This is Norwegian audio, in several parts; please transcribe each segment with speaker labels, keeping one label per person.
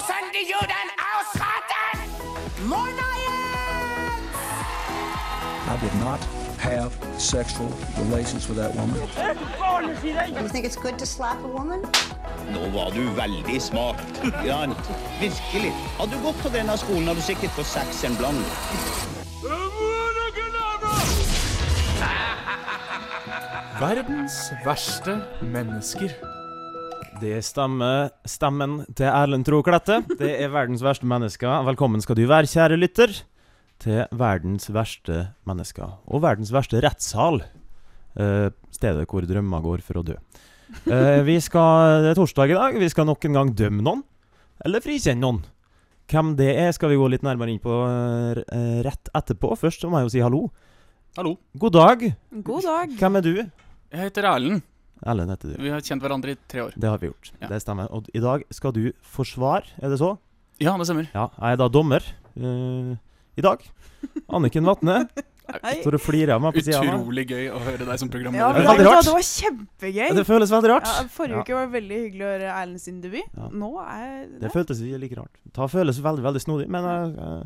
Speaker 1: Millionen ausraten! Moin,
Speaker 2: I did not have sexual relations with that woman.
Speaker 3: You think it's good to slap a woman?
Speaker 4: Nå var du veldig smart. Jan. Virkelig. Hadde du gått på denne skolen, hadde du sikkert fått seks en bland.
Speaker 5: Verdens verste mennesker.
Speaker 6: Det stemmer. Stemmen til Erlend Tro Klette. Det er verdens verste mennesker. Velkommen skal du være, kjære lytter, til verdens verste mennesker. Og verdens verste rettssal. Eh, stedet hvor drømmer går for å dø. Eh, vi skal, det er torsdag i dag. Vi skal nok en gang dømme noen. Eller frikjenne noen. Hvem det er, skal vi gå litt nærmere inn på eh, rett etterpå. Først så må jeg jo si hallo.
Speaker 7: Hallo.
Speaker 6: God dag.
Speaker 8: God dag.
Speaker 6: Hvem er du?
Speaker 7: Jeg heter Erlend.
Speaker 6: Erlend heter du.
Speaker 7: Vi har kjent hverandre i tre år.
Speaker 6: Det har vi gjort.
Speaker 7: Ja.
Speaker 6: Det stemmer. Og i dag skal du forsvare, er det så?
Speaker 7: Ja, det stemmer.
Speaker 6: Ja, jeg er da dommer eh, i dag. Anniken Vatne.
Speaker 8: Hei.
Speaker 6: Står og flirer av meg på sida.
Speaker 7: Utrolig gøy å høre deg som
Speaker 8: Ja,
Speaker 7: programleder.
Speaker 8: men vet
Speaker 6: veldig
Speaker 8: du hva,
Speaker 6: rart.
Speaker 8: det var kjempegøy.
Speaker 6: Det føles veldig rart.
Speaker 8: Ja, forrige
Speaker 6: Ja.
Speaker 8: uke var veldig hyggelig å høre Erlend sin debut.
Speaker 6: Ja.
Speaker 8: Nå er
Speaker 6: Det føltes like rart. Det føles veldig veldig snodig. Men jeg,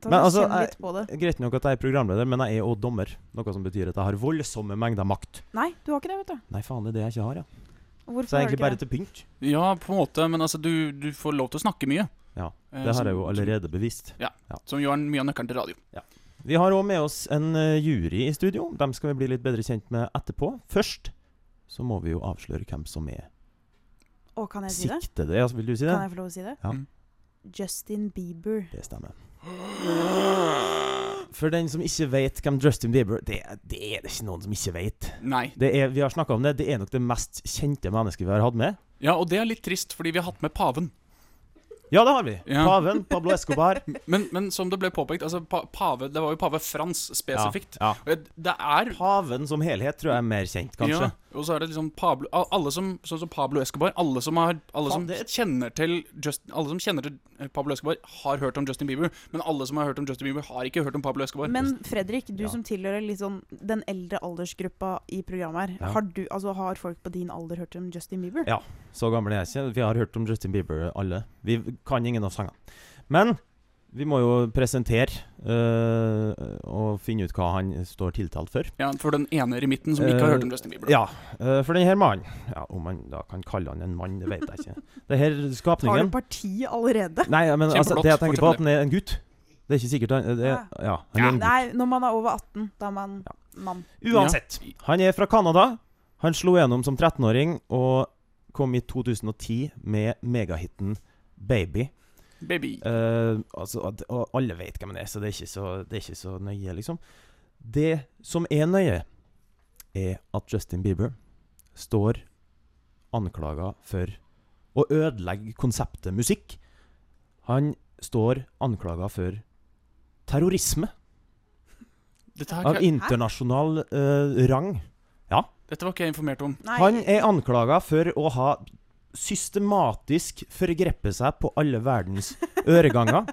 Speaker 8: Ta,
Speaker 6: Men altså,
Speaker 8: kjenn litt på det.
Speaker 6: jeg, Greit nok at jeg er programleder, men jeg er òg dommer. Noe som betyr at jeg har voldsomme mengder makt.
Speaker 8: Nei, du har ikke det, vet du.
Speaker 6: Nei, faen, det er det jeg ikke har, ja.
Speaker 8: Hvorfor
Speaker 6: Så jeg er
Speaker 8: har du
Speaker 6: egentlig
Speaker 8: ikke
Speaker 6: bare
Speaker 8: det?
Speaker 6: til pynt.
Speaker 7: Ja, på en måte, men altså, du, du får lov til å snakke mye.
Speaker 6: Ja,
Speaker 7: Eh,
Speaker 6: Det har
Speaker 7: som-
Speaker 6: jeg jo allerede bevist.
Speaker 7: Som jo er mye av nøkkelen til radio.
Speaker 6: Vi har òg med oss en eh, jury i studio. Dem skal vi bli litt bedre kjent med etterpå. Først så må vi jo avsløre hvem som er
Speaker 8: Å, kan jeg si det?
Speaker 6: siktede. Ja, så vil du si det?
Speaker 8: Kan jeg få lov å si det?
Speaker 6: Ja.
Speaker 7: Mm.
Speaker 8: Justin Bieber.
Speaker 6: Det stemmer. For den som ikke vet hvem Justin Bieber Det, det er det ikke noen som ikke vet.
Speaker 7: Nei.
Speaker 6: Det er, vi har snakket om det. Det er nok det mest kjente mennesket vi har hatt med.
Speaker 7: Ja, og det er litt trist, fordi vi har hatt med paven.
Speaker 6: Ja, det har vi.
Speaker 7: Ja.
Speaker 6: Paven, Pablo Escobar.
Speaker 7: Men, men som det ble påpekt, altså, pa pave, det var jo pave Frans spesifikt.
Speaker 6: Ja,
Speaker 7: Og jeg- Det er
Speaker 6: Paven som helhet tror jeg er mer kjent, kanskje.
Speaker 7: Ja, og så er det liksom Pablo al- Alle som, sånn som Pablo Escobar Alle som, har, alle
Speaker 6: Faen,
Speaker 7: som
Speaker 6: det-
Speaker 7: kjenner til Just, Alle som kjenner til eh, Pablo Escobar, har hørt om Justin Bieber. Men alle som har hørt om Justin Bieber, har ikke hørt om Pablo Escobar.
Speaker 8: Men Fredrik, du
Speaker 6: Ja.
Speaker 8: som tilhører litt sånn den eldre aldersgruppa i programmet her,
Speaker 6: Ja.
Speaker 8: har, du, altså, har folk på din alder hørt om Justin Bieber?
Speaker 6: Ja. Så gammel er jeg ikke. Vi har hørt om Justin Bieber, alle. Vi kan ingen av sangene. Men vi må jo presentere øh, og finne ut hva han står tiltalt for.
Speaker 7: Ja, for den ene eremitten som ikke har
Speaker 6: Eh,
Speaker 7: hørt om Justin Bieber.
Speaker 6: Ja, eh, for denne mannen ja, Om man da kan kalle han en mann, det vet jeg ikke. Det her
Speaker 8: Tar du
Speaker 6: skapningen
Speaker 8: parti allerede?
Speaker 6: Nei, ja, men altså,
Speaker 7: Kjempeflott,
Speaker 6: det jeg tenker på,
Speaker 7: fortsett
Speaker 6: at han er en gutt. Det er ikke sikkert han det, er- Ja, han er en gutt.
Speaker 8: Nei, når man er over 18, da er man mann.
Speaker 6: Uansett. Han er fra Canada. Han slo gjennom som 13-åring og kom i 2010 med megahiten 'Baby'.
Speaker 7: Baby.
Speaker 6: Eh, altså, at- og alle vet hvem han er, så det er ikke så, det er ikke så nøye, liksom. Det som er nøye, er at Justin Bieber står anklaga for å ødelegge konseptet musikk. Han står anklaga for terrorisme
Speaker 7: Dette, her,
Speaker 6: av
Speaker 7: ikke-
Speaker 6: internasjonal eh, rang.
Speaker 7: dette var ikke jeg informert om.
Speaker 8: Nei,
Speaker 6: Han er anklaga for å ha systematisk forgrepet seg på alle verdens øreganger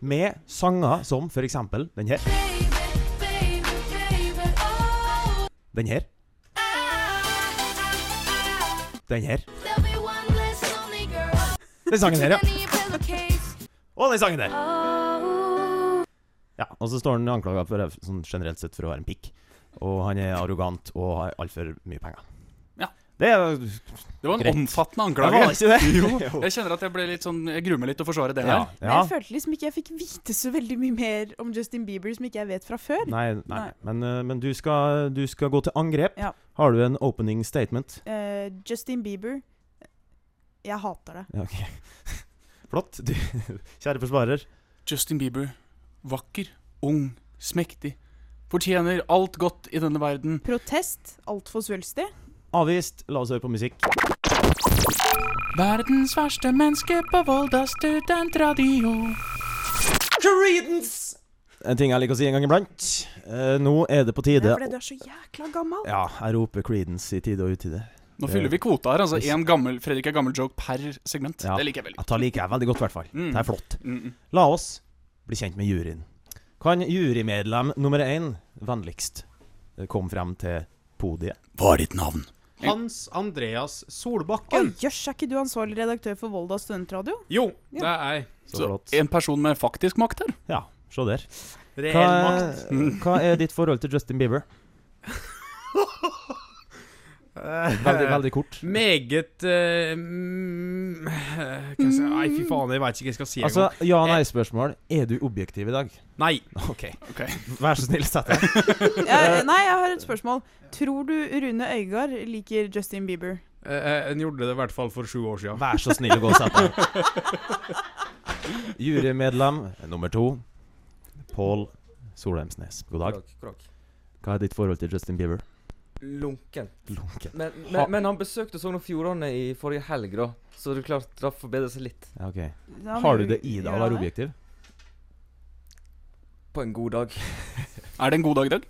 Speaker 6: med sanger som f.eks. den her.
Speaker 1: oh.
Speaker 6: Den her. Den her. Den sangen her, ja. Og den sangen der. Ja, og så står han anklaga for sånn generelt sett for å være en pikk. Og han er arrogant og har altfor mye penger.
Speaker 7: Ja.
Speaker 6: Det er
Speaker 7: Det var en
Speaker 6: Greit.
Speaker 7: omfattende
Speaker 6: Det var
Speaker 7: anklage.
Speaker 6: ikke det? Jo.
Speaker 7: Jeg kjenner at jeg ble litt sånn Jeg gruer meg litt til å forsvare det
Speaker 6: Ja.
Speaker 7: her.
Speaker 8: Men jeg følte liksom ikke jeg fikk vite så veldig mye mer om Justin Bieber som ikke jeg vet fra før.
Speaker 6: Nei, nei.
Speaker 8: Nei.
Speaker 6: Men, eh, men du, skal, du skal gå til angrep.
Speaker 8: Ja.
Speaker 6: Har du en opening statement?
Speaker 8: Eh, Justin Bieber Jeg hater det.
Speaker 6: Ja, ok. Flott. Du, kjære forsvarer.
Speaker 7: Justin Bieber. Vakker, ung, smektig. Fortjener alt godt i denne verden.
Speaker 8: Protest. Altfor svulstig.
Speaker 6: Avvist. La oss høre på musikk.
Speaker 7: Verdens verste menneske på Volda studentradio.
Speaker 6: Creedence! En ting jeg liker å si en gang iblant. Eh, nå er det på
Speaker 8: Det
Speaker 6: tide
Speaker 8: er fordi du er så jækla gammel.
Speaker 6: Ja, jeg roper Creedence i tide og utide.
Speaker 7: Nå fyller vi kvota her. altså en gammel Fredrik er gammel-joke per segment.
Speaker 6: Ja.
Speaker 7: Det liker jeg veldig.
Speaker 6: Jeg tar liker jeg veldig godt, i hvert fall.
Speaker 7: Mm.
Speaker 6: Det er flott.
Speaker 7: Mm, mm.
Speaker 6: La oss bli kjent med juryen. Kan jurymedlem nummer én vennligst eh, komme frem til podiet?
Speaker 7: Hva er ditt navn?
Speaker 9: Hans Andreas
Speaker 8: Oi,
Speaker 9: Solbakken.
Speaker 8: jøss, er ikke du ansvarlig redaktør for Volda studentradio?
Speaker 9: Jo,
Speaker 8: Ja.
Speaker 9: det er jeg.
Speaker 6: Så flott.
Speaker 7: en person med faktisk makt her.
Speaker 6: Ja, se der. Hva,
Speaker 9: Reell makt.
Speaker 6: hva er ditt forhold til Justin Bieber? Veldig, veldig kort.
Speaker 9: Meget eh, mm, eh, hva skal jeg- Nei,
Speaker 3: Mm.
Speaker 9: fy faen, jeg veit ikke hva jeg skal si
Speaker 6: Altså,
Speaker 9: engang.
Speaker 6: ja-nei-spørsmål. Er du objektiv i dag?
Speaker 9: Nei.
Speaker 6: OK. Vær så snill, sett deg.
Speaker 8: Jeg, nei, jeg har et spørsmål. Tror du Rune Øygard liker Justin Bieber?
Speaker 9: Eh, eh, En gjorde det i hvert fall for sju år siden.
Speaker 6: Vær så snill å gå og sett deg. Jurymedlem nummer to, Pål Solheimsnes. God dag.
Speaker 10: Krok, krok.
Speaker 6: Hva er ditt forhold til Justin Bieber?
Speaker 10: Lunken.
Speaker 6: Lunken.
Speaker 10: Men,
Speaker 6: Ha-
Speaker 10: men, men han besøkte Sogn og Fjordane i forrige helg, da. Så det er klart, det har forbedret seg litt.
Speaker 6: Ja, ok.
Speaker 8: Da må
Speaker 6: Har du
Speaker 8: vi
Speaker 6: det i deg å
Speaker 8: gjøre
Speaker 6: være
Speaker 8: det.
Speaker 6: objektiv?
Speaker 10: På en god dag.
Speaker 7: Er det en god dag i dag?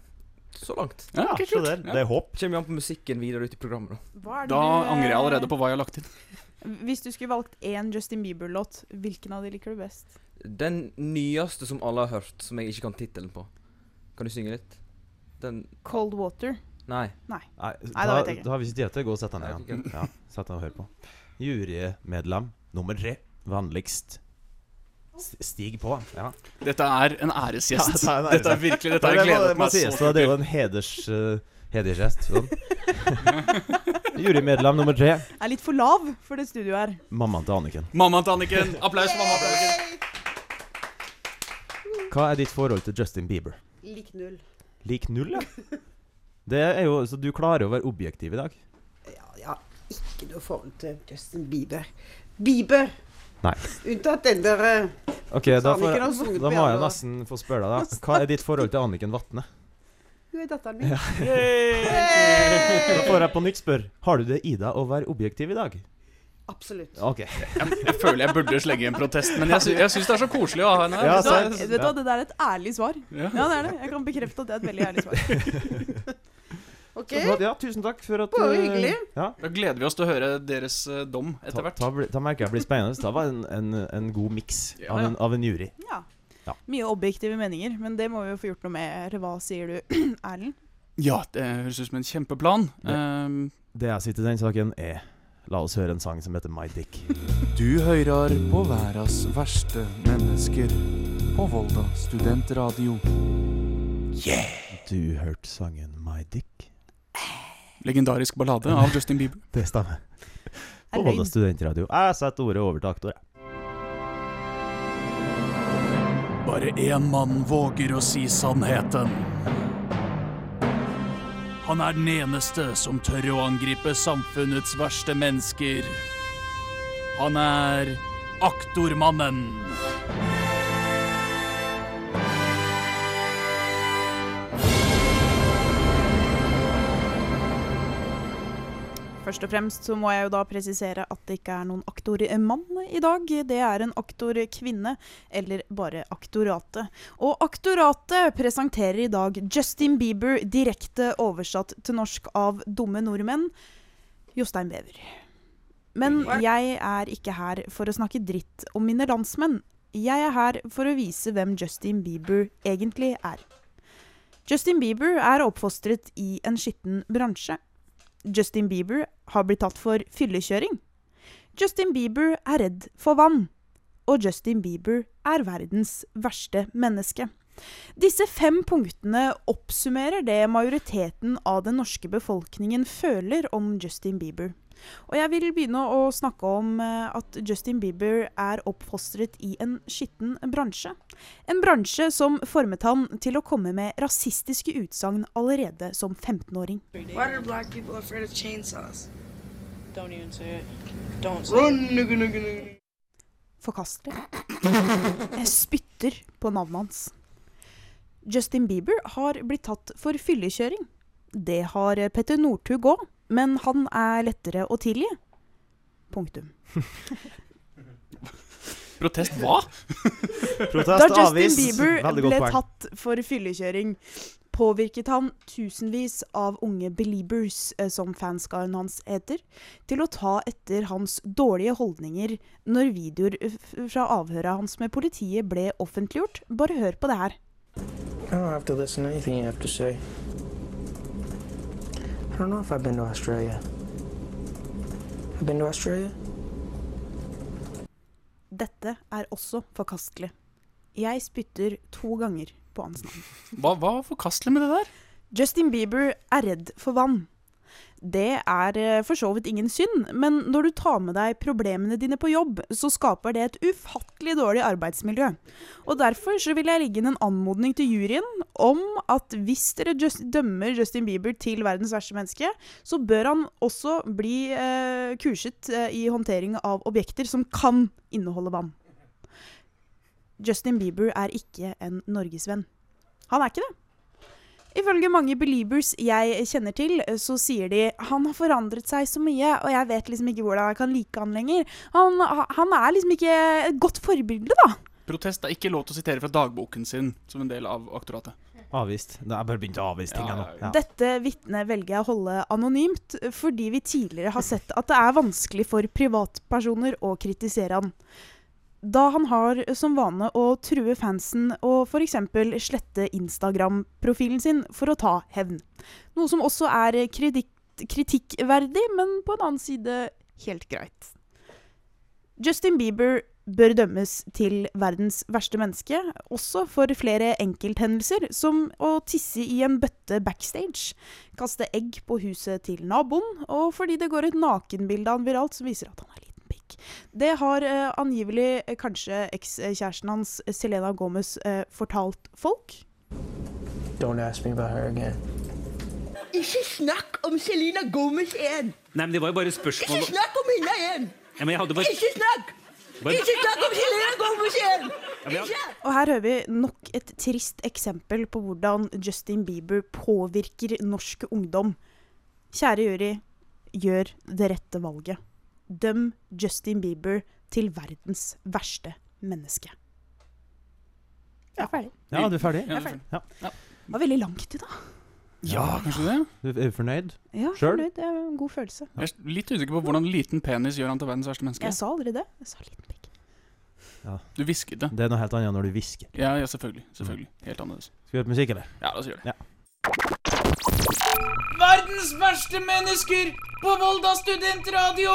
Speaker 10: Så langt.
Speaker 7: Ja, ok, kult. Ja.
Speaker 6: er håp.
Speaker 10: Kommer jo an på musikken videre ut i programmet, da.
Speaker 8: Hva er det
Speaker 7: Da
Speaker 8: du, eh,
Speaker 7: angrer jeg allerede på hva jeg har lagt inn.
Speaker 8: Hvis du skulle valgt én Justin Bieber-låt, hvilken av de liker du best?
Speaker 10: Den nyeste som alle har hørt, som jeg ikke kan tittelen på. Kan du synge litt? Den
Speaker 8: Cold Water.
Speaker 10: Nei.
Speaker 6: Nei,
Speaker 8: Nei,
Speaker 6: da,
Speaker 8: da vet jeg ikke.
Speaker 6: da har vi ikke tid til å gå og sette
Speaker 10: Nei,
Speaker 6: deg ned igjen. Ja, sett deg og hør på. Jurymedlem nummer tre, vanligst. S- Stig på. Ja.
Speaker 7: Dette er en æresgjest.
Speaker 6: Ja, det er en
Speaker 7: Dette er virkelig Dette har jeg
Speaker 6: Nei, det må-
Speaker 7: gledet
Speaker 6: det må
Speaker 7: meg
Speaker 6: sies,
Speaker 7: så
Speaker 6: da. Det er jo en heders, eh, hedersgjest. Sånn. Jurymedlem nummer tre,
Speaker 8: Er litt for lav for det studioet her.
Speaker 6: mammaen til Anniken.
Speaker 7: Mammaen til Anniken. Applaus, mamma til Anniken.
Speaker 6: Hva er ditt forhold til Justin Bieber?
Speaker 3: Lik null.
Speaker 6: Lik null, ja. Det er jo, så du klarer å være objektiv i dag?
Speaker 3: Ja, ja, ikke noe forhold til Justin Bieber. Bieber!
Speaker 6: Nei.
Speaker 3: Unntatt den der eh,
Speaker 6: Ok, Da,
Speaker 3: Anniken har
Speaker 6: får,
Speaker 3: sunget
Speaker 6: da må jeg
Speaker 3: piano.
Speaker 6: nesten få spørre deg, da. Hva er ditt forhold til Anniken Vatne?
Speaker 3: Hun er datteren min.
Speaker 6: Da får jeg på nytt spørre. Har du det i deg å være objektiv i dag?
Speaker 3: Absolutt.
Speaker 6: Ok.
Speaker 7: Jeg føler jeg burde slenge en protest, men jeg, sy jeg syns det er så koselig å ha henne her.
Speaker 6: Ja,
Speaker 8: Vet du hva,
Speaker 6: sant.
Speaker 8: vet du hva, det der er et ærlig svar.
Speaker 7: Ja.
Speaker 8: Ja, det er det. Jeg kan bekrefte at det er et veldig ærlig svar.
Speaker 3: OK?
Speaker 6: Så bra. Ja, tusen takk for at
Speaker 3: Bare
Speaker 6: du-
Speaker 3: hyggelig.
Speaker 6: Ja.
Speaker 7: Da gleder vi oss til å høre deres eh, dom etter
Speaker 6: Ta,
Speaker 7: hvert.
Speaker 6: ta, bli- ta merker jeg blir spennende. Da var en, en, en god miks
Speaker 7: Ja,
Speaker 6: av, en- av en jury.
Speaker 8: Ja.
Speaker 6: Ja.
Speaker 8: Mye objektive meninger, men det må vi jo få gjort noe med. Eller Hva sier du, Erlend?
Speaker 7: Ja, det høres ut som en kjempeplan.
Speaker 6: Det-
Speaker 7: Ehm,
Speaker 6: Det jeg sier til den saken, er La oss høre en sang som heter My Dick.
Speaker 5: Du hører på verdas verste mennesker på Volda studentradio.
Speaker 6: Du hørte sangen My Dick?
Speaker 7: legendarisk ballade av Justin Bieber.
Speaker 6: Det stemmer. På
Speaker 8: Er
Speaker 6: Volda
Speaker 8: løgn.
Speaker 6: studentradio. Jeg setter ordet over til aktor. jeg.
Speaker 7: Bare én mann våger å si sannheten. Han er den eneste som tør å angripe samfunnets verste mennesker. Han er aktormannen.
Speaker 8: Først og fremst så må jeg jo da presisere at det ikke er noen aktormann i dag. Det er en aktorkvinne, eller bare aktoratet. Og aktoratet presenterer i dag Justin Bieber direkte oversatt til norsk av dumme nordmenn, Jostein Bever. Men jeg er ikke her for å snakke dritt om mine landsmenn. Jeg er her for å vise hvem Justin Bieber egentlig er. Justin Bieber er oppfostret i en skitten bransje. Justin Bieber har blitt tatt for fyllekjøring. Justin Bieber er redd for vann. Og Justin Bieber er verdens verste menneske. Disse fem punktene oppsummerer det majoriteten av den norske befolkningen føler om Justin Bieber. Og jeg vil begynne å snakke om eh, at Justin Bieber er oppfostret i en skitten bransje. En bransje som formet han til å komme med rasistiske utsagn allerede som 15-åring.
Speaker 11: Why are black people afraid of chainsaws? Don't even say it. Don't say
Speaker 1: Run, nigga, nigga, nigga.
Speaker 8: forkastelig. Jeg spytter på navnet hans. Justin Bieber har blitt tatt for fyllekjøring. Det har Petter Northug òg, men han er lettere å tilgi. Punktum.
Speaker 7: Protest hva?
Speaker 8: Da
Speaker 6: Protest
Speaker 8: Justin
Speaker 6: avvist.
Speaker 8: Bieber
Speaker 6: Veldig
Speaker 8: ble
Speaker 6: godt poeng.
Speaker 8: tatt for fyllekjøring, påvirket han tusenvis av unge beliebers, eh, som fanskaren hans heter, til å ta etter hans dårlige holdninger når videoer eh, f- fra avhøret hans med politiet ble offentliggjort. Bare hør på det her.
Speaker 11: I don't have to listen to anything you have to say. I don't know if I've been to Australia.
Speaker 12: You been to Australia?
Speaker 8: Dette er også forkastelig. Jeg spytter to ganger på hans navn.
Speaker 7: Hva, hva var forkastelig med det der?
Speaker 8: Justin Bieber er redd for vann. Det er eh, for så vidt ingen synd, men når du tar med deg problemene dine på jobb, så skaper det et ufattelig dårlig arbeidsmiljø. Og derfor så vil jeg legge inn en anmodning til juryen om at hvis dere just, dømmer Justin Bieber til verdens verste menneske, så bør han også bli eh, kurset eh, i håndtering av objekter som kan inneholde vann. Justin Bieber er ikke en norgesvenn. Han er ikke det. Ifølge mange beliebers jeg kjenner til, så sier de han har forandret seg så mye, og jeg vet liksom ikke hvordan jeg kan like han lenger. Han, han er liksom ikke et godt forbilde, da.
Speaker 7: Protest er ikke lov til å sitere fra dagboken sin som en del av aktoratet.
Speaker 6: Avvist. Nei, Jeg bare begynte å avvise ting, jeg nå. Ja.
Speaker 8: Dette vitnet velger jeg å holde anonymt, fordi vi tidligere har sett at det er vanskelig for privatpersoner å kritisere han. Da han har som vane å true fansen og f.eks. slette Instagram-profilen sin for å ta hevn. Noe som også er kritikk, kritikkverdig, men på en annen side helt greit. Justin Bieber bør dømmes til verdens verste menneske, også for flere enkelthendelser, som å tisse i en bøtte backstage, kaste egg på huset til naboen, og fordi det går et nakenbilde av han viralt som viser at han har liten pikk. Det har eh, angivelig eh, kanskje ekskjæresten hans, Selena Gomez, eh, fortalt folk.
Speaker 12: Don't ask me about her again.
Speaker 13: Ikke snakk om Selena Gomez igjen!
Speaker 14: Nei, men det var jo bare
Speaker 13: Ikke
Speaker 14: spørsmål
Speaker 13: snakk om henne igjen!
Speaker 14: ja, men jeg hadde bare...
Speaker 13: Ikke snakk!
Speaker 14: Bare-
Speaker 13: Ikke snakk om Selena Gomez igjen! Ikke!
Speaker 8: Og her hører vi nok et trist eksempel på hvordan Justin Bieber påvirker norsk ungdom. Kjære jury, gjør det rette valget. Døm Justin Bieber til verdens verste menneske. Jeg er ferdig.
Speaker 6: Ja, du er ferdig?
Speaker 8: Jeg
Speaker 6: Ja,
Speaker 8: er
Speaker 6: du er
Speaker 8: ferdig. Det var veldig langt i dag.
Speaker 7: Ja, kanskje det?
Speaker 6: Du er du fornøyd?
Speaker 8: Ja,
Speaker 6: Sjøl?
Speaker 8: fornøyd. Det er en god følelse.
Speaker 7: Jeg er litt usikker på hvordan liten penis gjør han til verdens verste menneske.
Speaker 8: Jeg sa aldri det. Jeg sa liten pikk.
Speaker 6: Ja.
Speaker 7: Du hvisket det.
Speaker 6: Det er noe helt annet når du hvisker.
Speaker 7: Ja, ja, selvfølgelig. selvfølgelig. Helt annerledes.
Speaker 6: Skal vi høre på musikk, eller?
Speaker 7: Ja, la oss gjøre det.
Speaker 1: Verdens verste mennesker på Volda studentradio!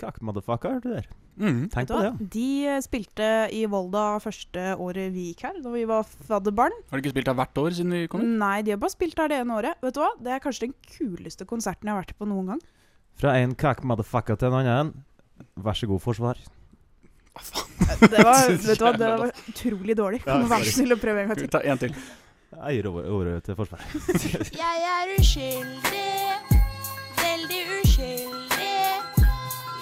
Speaker 6: Kak, motherfucker, hørte du der? Tenk
Speaker 7: Mm,
Speaker 8: Vet du
Speaker 6: på det,
Speaker 8: hva? De eh, spilte i Volda første året vi gikk her, da vi var fadderbarn.
Speaker 7: Har du ikke spilt der hvert år siden vi kom inn?
Speaker 8: Nei, de har bare spilt der det ene året. Vet du hva? Det er kanskje den kuleste konserten jeg har vært på noen gang.
Speaker 6: ja. Fra en kak motherfucker til en annen. Vær så god, forsvar.
Speaker 8: Det var, vet du hva? Det var utrolig dårlig.
Speaker 6: Ja,
Speaker 8: Kan du være
Speaker 6: sorry.
Speaker 8: så snill å prøve en gang til?
Speaker 7: Ta en til.
Speaker 6: Jeg gir over- ordet til forsvar.
Speaker 1: Jeg er uskyldig, veldig uskyldig.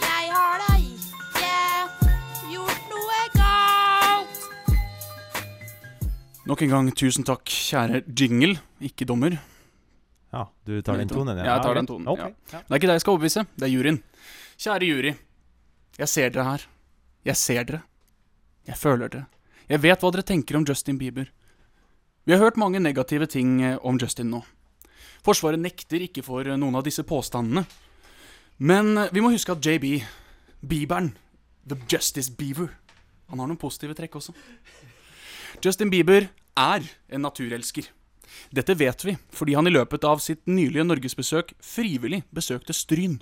Speaker 1: Jeg har da ikke gjort noe galt.
Speaker 7: Nok en gang tusen takk, kjære jingle, ikke dommer.
Speaker 6: Ja, du tar den tonen?
Speaker 7: Ja, jeg tar den
Speaker 6: greit.
Speaker 7: tonen.
Speaker 6: Ok.
Speaker 7: Ja. Det er ikke deg jeg skal overbevise, det er juryen. Kjære jury. Jeg ser dere her. Jeg ser dere. Jeg føler dere. Jeg vet hva dere tenker om Justin Bieber. Vi har hørt mange negative ting eh, om Justin nå. Forsvaret nekter ikke for eh, noen av disse påstandene. Men eh, vi må huske at JB, Bieberen, The Justice Beaver, han har noen positive trekk også. Justin Bieber er en naturelsker. Dette vet vi fordi han i løpet av sitt nylige norgesbesøk frivillig besøkte Stryn.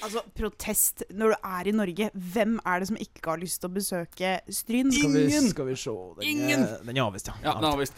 Speaker 8: Altså, protest når du er i Norge. Hvem er det som ikke har lyst til å besøke Stryn?
Speaker 7: Skal vi- Ingen!
Speaker 8: Skal vi se.
Speaker 7: Ingen!
Speaker 6: Den er avvist, ja.
Speaker 7: Ja, det er avvist.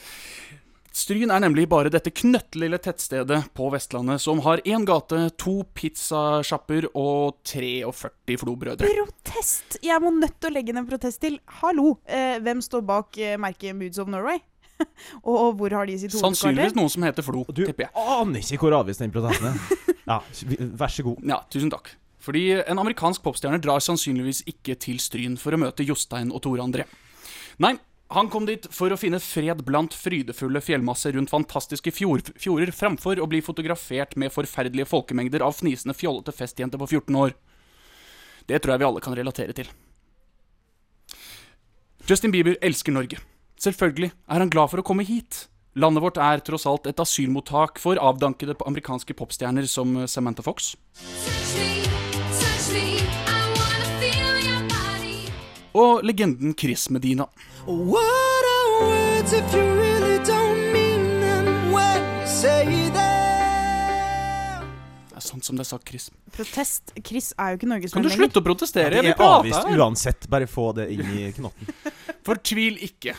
Speaker 7: Stryn er nemlig bare dette knøttlille tettstedet på Vestlandet som har én gate, to pizzasjapper og 43 flobrødre.
Speaker 8: Protest! Jeg må nødt til å legge inn en protest til. Hallo! Eh, hvem står bak eh, merket Moods of Norway? og, og hvor har de sitt
Speaker 7: Sannsynligvis
Speaker 8: hovedkvarter?
Speaker 7: noen som heter Flo, tipper jeg.
Speaker 6: Aner ikke hvor avvist den protesten er. Ja, vi- vær så god.
Speaker 7: Ja, tusen takk. Fordi en amerikansk popstjerne drar sannsynligvis ikke til Stryn for å møte Jostein og Tore André. Nei, han kom dit for å finne fred blant frydefulle fjellmasser rundt fantastiske fjord, fjorder, framfor å bli fotografert med forferdelige folkemengder av fnisende, fjollete festjenter på 14 år. Det tror jeg vi alle kan relatere til. Justin Bieber elsker Norge. Selvfølgelig er han glad for å komme hit. Landet vårt er tross alt et asylmottak for avdankede amerikanske popstjerner som Samantha Fox. Og legenden Chris Medina.
Speaker 1: What are words if you really don't mean them when you say them?
Speaker 7: Det er sånt som det sa Chris.
Speaker 8: Protest Chris er jo ikke Norges
Speaker 7: Kan du slutte å
Speaker 6: Ja,
Speaker 7: protestere? Vi
Speaker 6: det er
Speaker 7: prater
Speaker 6: avvist
Speaker 7: her.
Speaker 6: uansett. Bare få det inn i knotten.
Speaker 7: Fortvil ikke.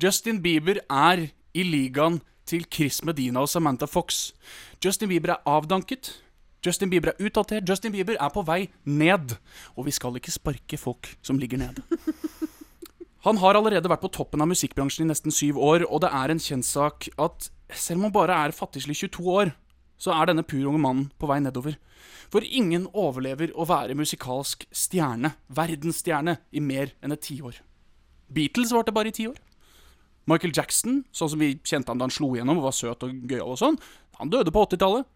Speaker 7: Justin Bieber er i ligaen til Chris Medina og Samantha Fox. Justin Bieber er avdanket. Justin Bieber er utdatert. Justin Bieber er på vei ned. Og vi skal ikke sparke folk som ligger nede. Han har allerede vært på toppen av musikkbransjen i nesten syv år, og det er en kjenssak at selv om han bare er fattigslig 22 år, så er denne pur unge mannen på vei nedover. For ingen overlever å være musikalsk stjerne, verdensstjerne, i mer enn et tiår. Beatles varte bare i ti år. Michael Jackson, sånn som vi kjente han da han slo igjennom og var søt og gøyal og sånn, han døde på 80-tallet.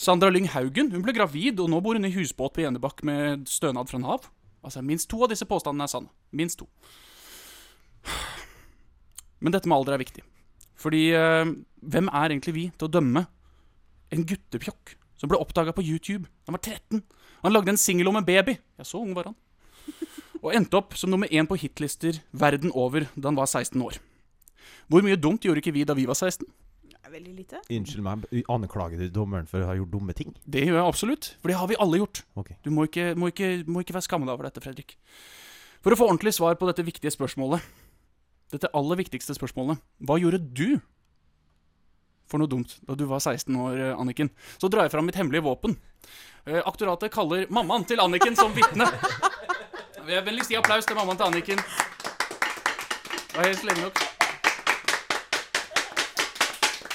Speaker 7: Sandra Lyng Haugen hun ble gravid, og nå bor hun i husbåt på Enebakk med stønad fra Nav. Altså, Minst to av disse påstandene er sanne. Minst to. Men dette med alder er viktig. Fordi eh, hvem er egentlig vi til å dømme en guttepjokk som ble oppdaga på YouTube? Han var 13. Han lagde en singel om en baby. Ja, så ung var han. Og endte opp som nummer én på hitlister verden over da han var 16 år. Hvor mye dumt gjorde ikke vi da vi var 16?
Speaker 8: Veldig lite.
Speaker 6: Unnskyld meg, anklager du dommeren for å ha gjort dumme ting?
Speaker 7: Det gjør jeg absolutt, for det har vi alle gjort. Du må ikke, må, ikke, må ikke være skammet over dette, Fredrik. For å få ordentlig svar på dette viktige spørsmålet, dette aller viktigste spørsmålet, hva gjorde du for noe dumt da du var 16 år, eh, Anniken? Så drar jeg fram mitt hemmelige våpen. Eh, Aktoratet kaller mammaen til Anniken som vitne. Vi har Vennligst gi applaus til mammaen til Anniken. Det var helt lenge nok.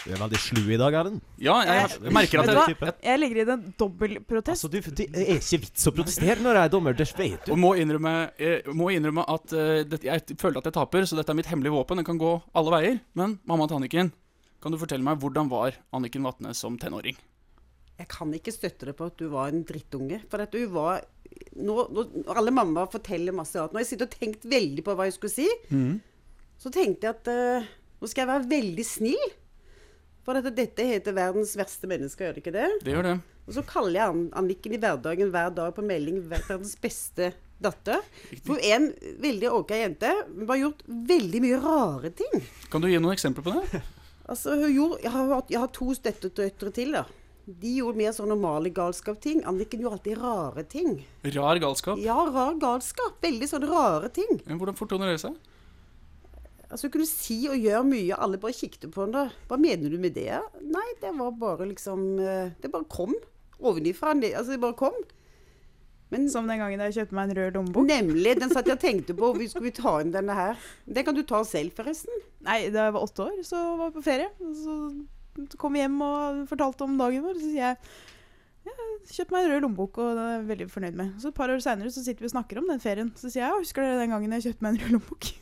Speaker 6: Du er veldig slu i dag, Erlend.
Speaker 7: Ja, jeg, jeg merker
Speaker 8: Eh,
Speaker 7: at
Speaker 8: Vet
Speaker 7: jeg,
Speaker 8: du hva? Jeg legger i den dobbel protest.
Speaker 6: Altså, du, det er ikke vits å protestere når jeg er dommer, det vet du.
Speaker 7: Og må innrømme, eh, må innrømme at eh, det, jeg føler at jeg taper, så dette er mitt hemmelige våpen. Den kan gå alle veier. Men mamma til Anniken, kan du fortelle meg hvordan var Anniken Vatne som tenåring?
Speaker 3: Jeg kan ikke støtte deg på at du var en drittunge. For at du var nå, nå, Alle mammaer forteller masse rart. Når jeg sitter og tenkt veldig på hva jeg skulle si, så tenkte jeg at eh, nå skal jeg være veldig snill. For at dette heter verdens verste menneske, gjør det ikke det?
Speaker 7: Det gjør det.
Speaker 3: Og så kaller jeg Ann- Anniken i hverdagen hver dag på melding verdens beste datter. For en veldig ok jente. Hun har gjort veldig mye rare ting.
Speaker 7: Kan du gi noen eksempler på det?
Speaker 3: Altså, hun gjorde, jeg, har, hatt- jeg har to støttedøtre til, da. De gjorde mer sånn normale galskap-ting. Anniken gjorde alltid rare ting.
Speaker 7: Rar galskap.
Speaker 3: Ja, rar galskap. Veldig sånne rare ting.
Speaker 7: Men Hvordan fortoner det seg?
Speaker 3: Altså, Hun kunne si og gjøre mye, alle bare kikket på henne. Hva mener du med det? ja? Nei, det var bare liksom eh, Det bare kom. Ovenifra. ned- Altså, det bare kom.
Speaker 8: Som den gangen jeg kjøpte meg en rød lommebok.
Speaker 3: Nemlig. Den satt jeg og tenkte på. Hvor skulle vi ta inn denne her? Den kan du ta selv, forresten.
Speaker 8: Nei, da jeg var åtte år, så var jeg på ferie. og Så kom jeg hjem og fortalte om dagen vår. Så sier jeg jeg kjøpte meg en rød lommebok, og den er jeg veldig fornøyd med. Så et par år seinere sitter vi og snakker om den ferien. Så sier jeg ja, husker dere den gangen jeg kjøpte meg en rød lommebok?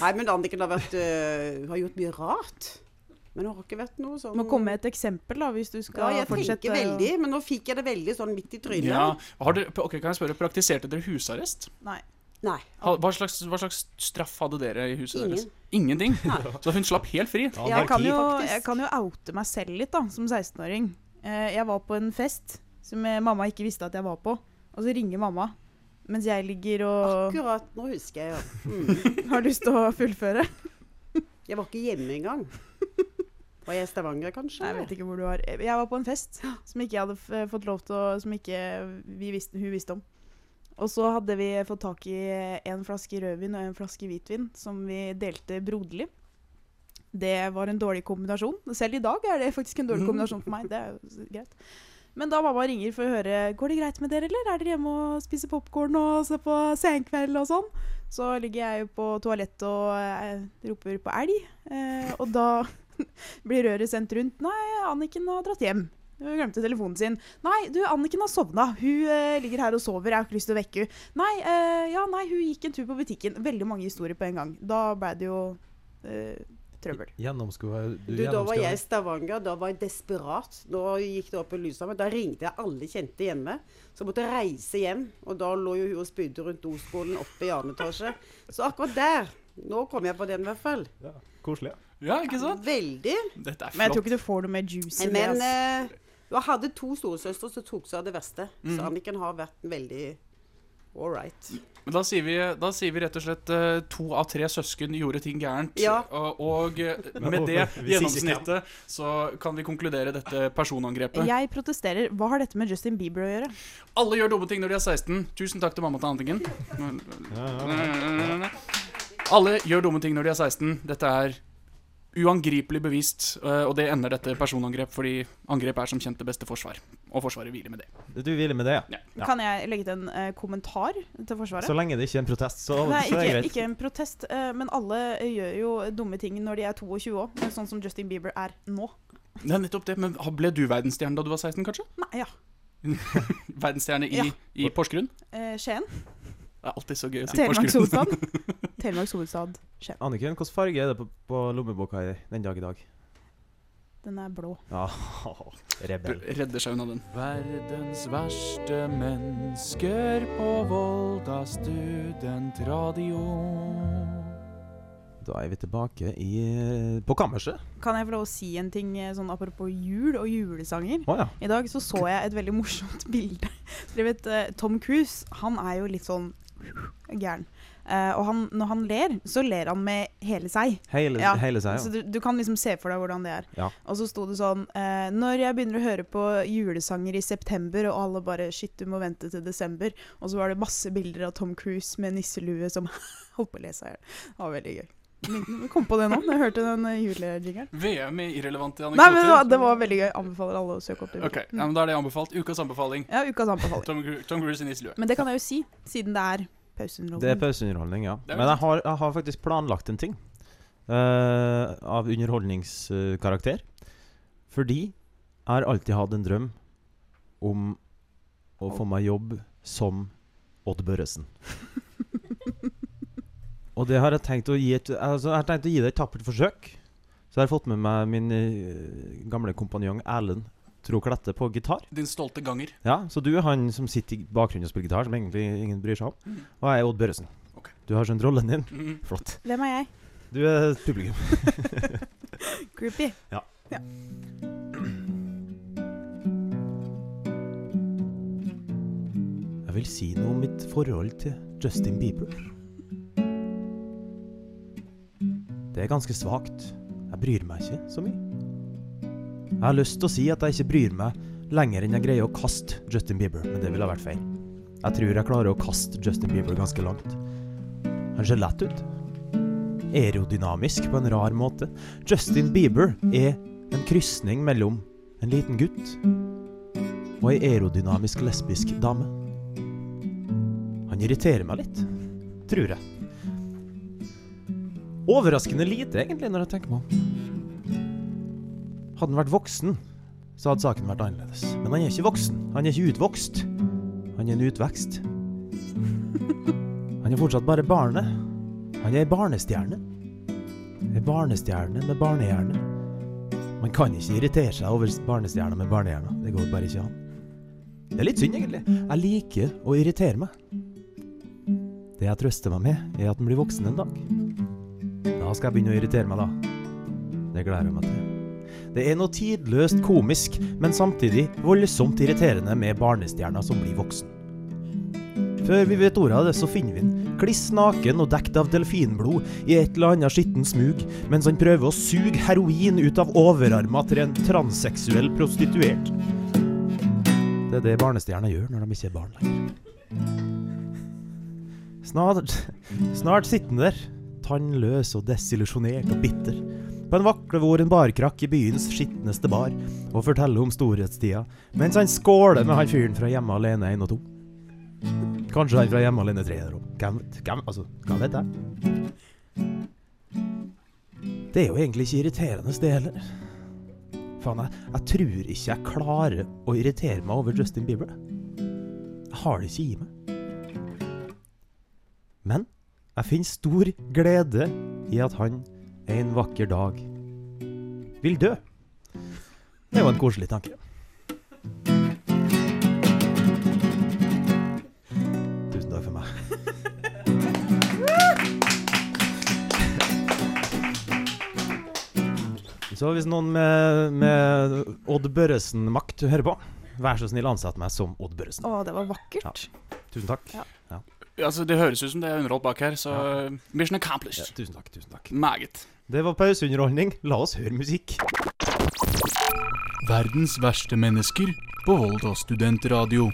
Speaker 3: Nei, men Anniken har, vært, eh, har gjort mye rart. Men hun har ikke vært noe sånn
Speaker 8: Må komme med et eksempel, da, hvis du skal
Speaker 3: Ja, jeg
Speaker 8: fortsette.
Speaker 3: tenker veldig, men nå fikk jeg det veldig sånn midt i trynet.
Speaker 7: Ja, har dere, ok, kan jeg spørre, Praktiserte dere husarrest?
Speaker 8: Nei.
Speaker 3: Nei.
Speaker 7: Ha- Hva slags, hva slags straff hadde dere i huset
Speaker 8: Ingen.
Speaker 7: deres? Ingenting? Så hun slapp helt fri?
Speaker 8: jeg, kan jo, jeg kan jo oute meg selv litt, da, som 16-åring. Eh, Jeg var på en fest som eh, mamma ikke visste at jeg var på, og så ringer mamma mens jeg ligger og
Speaker 3: Akkurat. Nå husker jeg, ja.
Speaker 8: har lyst til å fullføre.
Speaker 3: Jeg var ikke hjemme engang. Var jeg i Stavanger, kanskje?
Speaker 8: Jeg vet ikke hvor du var. Jeg var på en fest som ikke jeg hadde f fått lov til å Som ikke vi visste, hun visste om. Og så hadde vi fått tak i en flaske rødvin og en flaske hvitvin som vi delte broderlig. Det var en dårlig kombinasjon. Selv i dag er det faktisk en dårlig
Speaker 14: Mm.
Speaker 8: kombinasjon for meg. Det er jo s- greit. Men da mamma ringer for å høre Går det greit med dere, eller er dere hjemme og spiser popkorn og ser på Senkveld og sånn, så ligger jeg jo på toalettet og eh, roper på elg. Eh, og da blir røret sendt rundt. Nei, Anniken har dratt hjem. Hun glemte telefonen sin. Nei, du, Anniken har sovna. Hun eh, ligger her og sover. Jeg har ikke lyst til å vekke henne. Nei, eh, ja, nei, hun gikk en tur på butikken. Veldig mange historier på en gang. Da ble det jo eh, trøbbel.
Speaker 6: Gjennomskua
Speaker 3: Du, da var jeg i Stavanger, da var jeg desperat. Da gikk det opp i lyset, men da ringte jeg alle kjente hjemme. Så jeg måtte reise hjem, og da lå jo hun og spydde rundt doskolen oppe i annen etasje. Så akkurat der Nå kom jeg på den, i hvert fall.
Speaker 6: Koselig.
Speaker 7: Ja, ikke sant?
Speaker 3: Veldig.
Speaker 7: Dette er
Speaker 8: Men jeg tror
Speaker 7: flott.
Speaker 8: ikke du får noe mer juice i det. altså.
Speaker 3: Men
Speaker 8: ass.
Speaker 3: eh, hun hadde to storesøstre som tok seg av det verste. Så
Speaker 8: Mhm.
Speaker 3: Anniken har vært en veldig All right.
Speaker 7: Men da sier, vi, da sier vi rett og slett eh, to av tre søsken gjorde ting gærent.
Speaker 3: Ja.
Speaker 7: Og, og eh,
Speaker 6: Men
Speaker 7: med det
Speaker 6: hvorfor? Hvis ikke kan.
Speaker 7: gjennomsnittet så kan vi konkludere dette personangrepet.
Speaker 8: Jeg protesterer. Hva har dette med Justin Bieber å gjøre?
Speaker 7: Alle gjør dumme ting når de er 16. Tusen takk til mamma til Antingen. Alle gjør dumme ting når de er 16. Dette er uangripelig bevist, eh, og det ender dette personangrep, fordi angrep er som kjent det beste forsvar. Og Forsvaret hviler med det.
Speaker 6: Du hviler med det, ja. ja.
Speaker 8: Kan jeg legge til en eh, kommentar til Forsvaret?
Speaker 6: Så lenge det ikke er en protest, så,
Speaker 8: Nei,
Speaker 6: så er det
Speaker 8: ikke,
Speaker 6: greit.
Speaker 8: ikke en protest, eh, men alle gjør jo dumme ting når de er 22 år, sånn som Justin Bieber er nå.
Speaker 7: Det er nettopp det, men Ble du verdensstjerne da du var 16, kanskje?
Speaker 8: Nei, ja.
Speaker 7: Verdensstjerne i,
Speaker 8: Ja.
Speaker 7: i Porsgrunn?
Speaker 8: Eh, Skien.
Speaker 7: Det er alltid så gøy å si
Speaker 8: Telemarks
Speaker 7: Porsgrunn.
Speaker 8: hovedstad. Telemarks hovedstad. Skien.
Speaker 6: Anniken, hvilken farge er det på, på lommeboka i den dag i dag?
Speaker 8: Den er blå.
Speaker 6: Ja, rebell.
Speaker 7: Redder seg unna den.
Speaker 5: Verdens verste mennesker på Volda studentradio.
Speaker 6: Da er vi tilbake i, eh, på kammerset.
Speaker 8: Kan jeg få lov å si en ting eh, sånn apropos jul og julesanger?
Speaker 6: Å, ja.
Speaker 8: I dag så så jeg et veldig morsomt bilde. Dere vet, eh, Tom Cruise han er jo litt sånn gæren. Eh, og han, når han ler, så ler han med hele seg.
Speaker 6: Hele- hele seg, ja.
Speaker 8: Så du, du kan liksom se for deg hvordan det er.
Speaker 6: Ja.
Speaker 8: Og så sto det sånn eh, Når jeg begynner å høre på julesanger i september, og alle bare Shit, du må vente til desember. Og så var det masse bilder av Tom Cruise med nisselue som holdt på å le seg i hjel. Det var veldig gøy. Jeg kom på det nå, når jeg hørte den eh, julejingeren.
Speaker 7: VM i irrelevante anekdoter.
Speaker 8: Nei, men det var, det var veldig gøy. Anbefaler alle å søke opp det. Mm.
Speaker 7: Ok, ja, men Da er det anbefalt. Ukas anbefaling.
Speaker 8: Ja, ukas anbefaling.
Speaker 7: Tom, Cru- Tom Cruise i nisselue.
Speaker 8: Men det kan jeg jo si, siden det er pauseunderholdning.
Speaker 6: Det er pauseunderholdning, ja.
Speaker 7: er
Speaker 6: Men jeg har, jeg har faktisk planlagt en ting eh, av underholdningskarakter. Fordi jeg har alltid hatt en drøm om å få meg jobb som Odd Børresen. Og det har jeg tenkt å gi et altså, Jeg har tenkt å gi det et tappert forsøk. Så jeg har fått med meg min eh, gamle kompanjong Erlend Tro Klette på gitar.
Speaker 7: Din stolte ganger.
Speaker 6: Ja, så du er han som sitter i bakgrunnen og spiller gitar, som egentlig ingen bryr seg om. Og jeg er Odd Børresen. Du har skjønt rollen din.
Speaker 8: Mhm.
Speaker 6: Flott.
Speaker 8: Hvem er jeg?
Speaker 6: Du er publikum.
Speaker 8: Groupie.
Speaker 6: Ja.
Speaker 8: Ja.
Speaker 6: Jeg vil si noe om mitt forhold til Justin Bieber. Det er ganske svakt. Jeg bryr meg ikke så mye. Jeg har lyst til å si at jeg ikke bryr meg lenger enn jeg greier å kaste Justin Bieber, men det ville ha vært feil. Jeg tror jeg klarer å kaste Justin Bieber ganske langt. Han ser lett ut. Aerodynamisk på en rar måte. Justin Bieber er en krysning mellom en liten gutt og ei aerodynamisk lesbisk dame. Han irriterer meg litt, tror jeg. Overraskende lite, egentlig, når jeg tenker meg om. Hadde han vært voksen, så hadde saken vært annerledes. Men han er ikke voksen. Han er ikke utvokst. Han er en utvekst. Han er fortsatt bare barnet. Han er ei barnestjerne. Ei barnestjerne med barnehjerne. Man kan ikke irritere seg over barnestjerna med barnehjerna. Det går bare ikke an. Det er litt synd, egentlig. Jeg liker å irritere meg. Det jeg trøster meg med, er at den blir voksen en dag. Da skal jeg begynne å irritere meg, da. Det gleder jeg meg til. Det er noe tidløst komisk, men samtidig voldsomt irriterende med barnestjerna som blir voksen. Før vi vet ordet av det, så finner vi den. Kliss naken og dekt av delfinblod i et eller annet skitten smug, mens han prøver å suge heroin ut av overarma til en transseksuell prostituert. Det er det barnestjerner gjør når de ikke er barn lenger. Snart, snart sitter han der, tannløs og desillusjonert og bitter, på en vaklevoren barkrakk i byens skitneste bar, og forteller om storhetstida, mens han skåler med han fyren fra Hjemme alene 1 og 2. Kanskje han fra Hjemme alene 3 der òg. Hvem, hvem, altså, hva vet jeg? Det er jo egentlig ikke irriterende, det heller. Faen, jeg, jeg tror ikke jeg klarer å irritere meg over Justin Bieber. Jeg har det ikke i meg. Men jeg finner stor glede i at han en vakker dag vil dø. Det er jo en koselig tanke. Tusen takk for meg. Så hvis noen med, med Odd Børresen-makt hører på, vær så snill ansett meg som Odd Børresen.
Speaker 8: Å, det var vakkert.
Speaker 6: Ja. Tusen takk. Ja.
Speaker 7: Altså, det høres ut som det er underholdt bak her, så mission accomplished.
Speaker 6: tusen takk, tusen takk.
Speaker 7: Meget.
Speaker 6: Det var pauseunderholdning. La oss høre musikk.
Speaker 7: Verdens verste mennesker på Volda studentradio.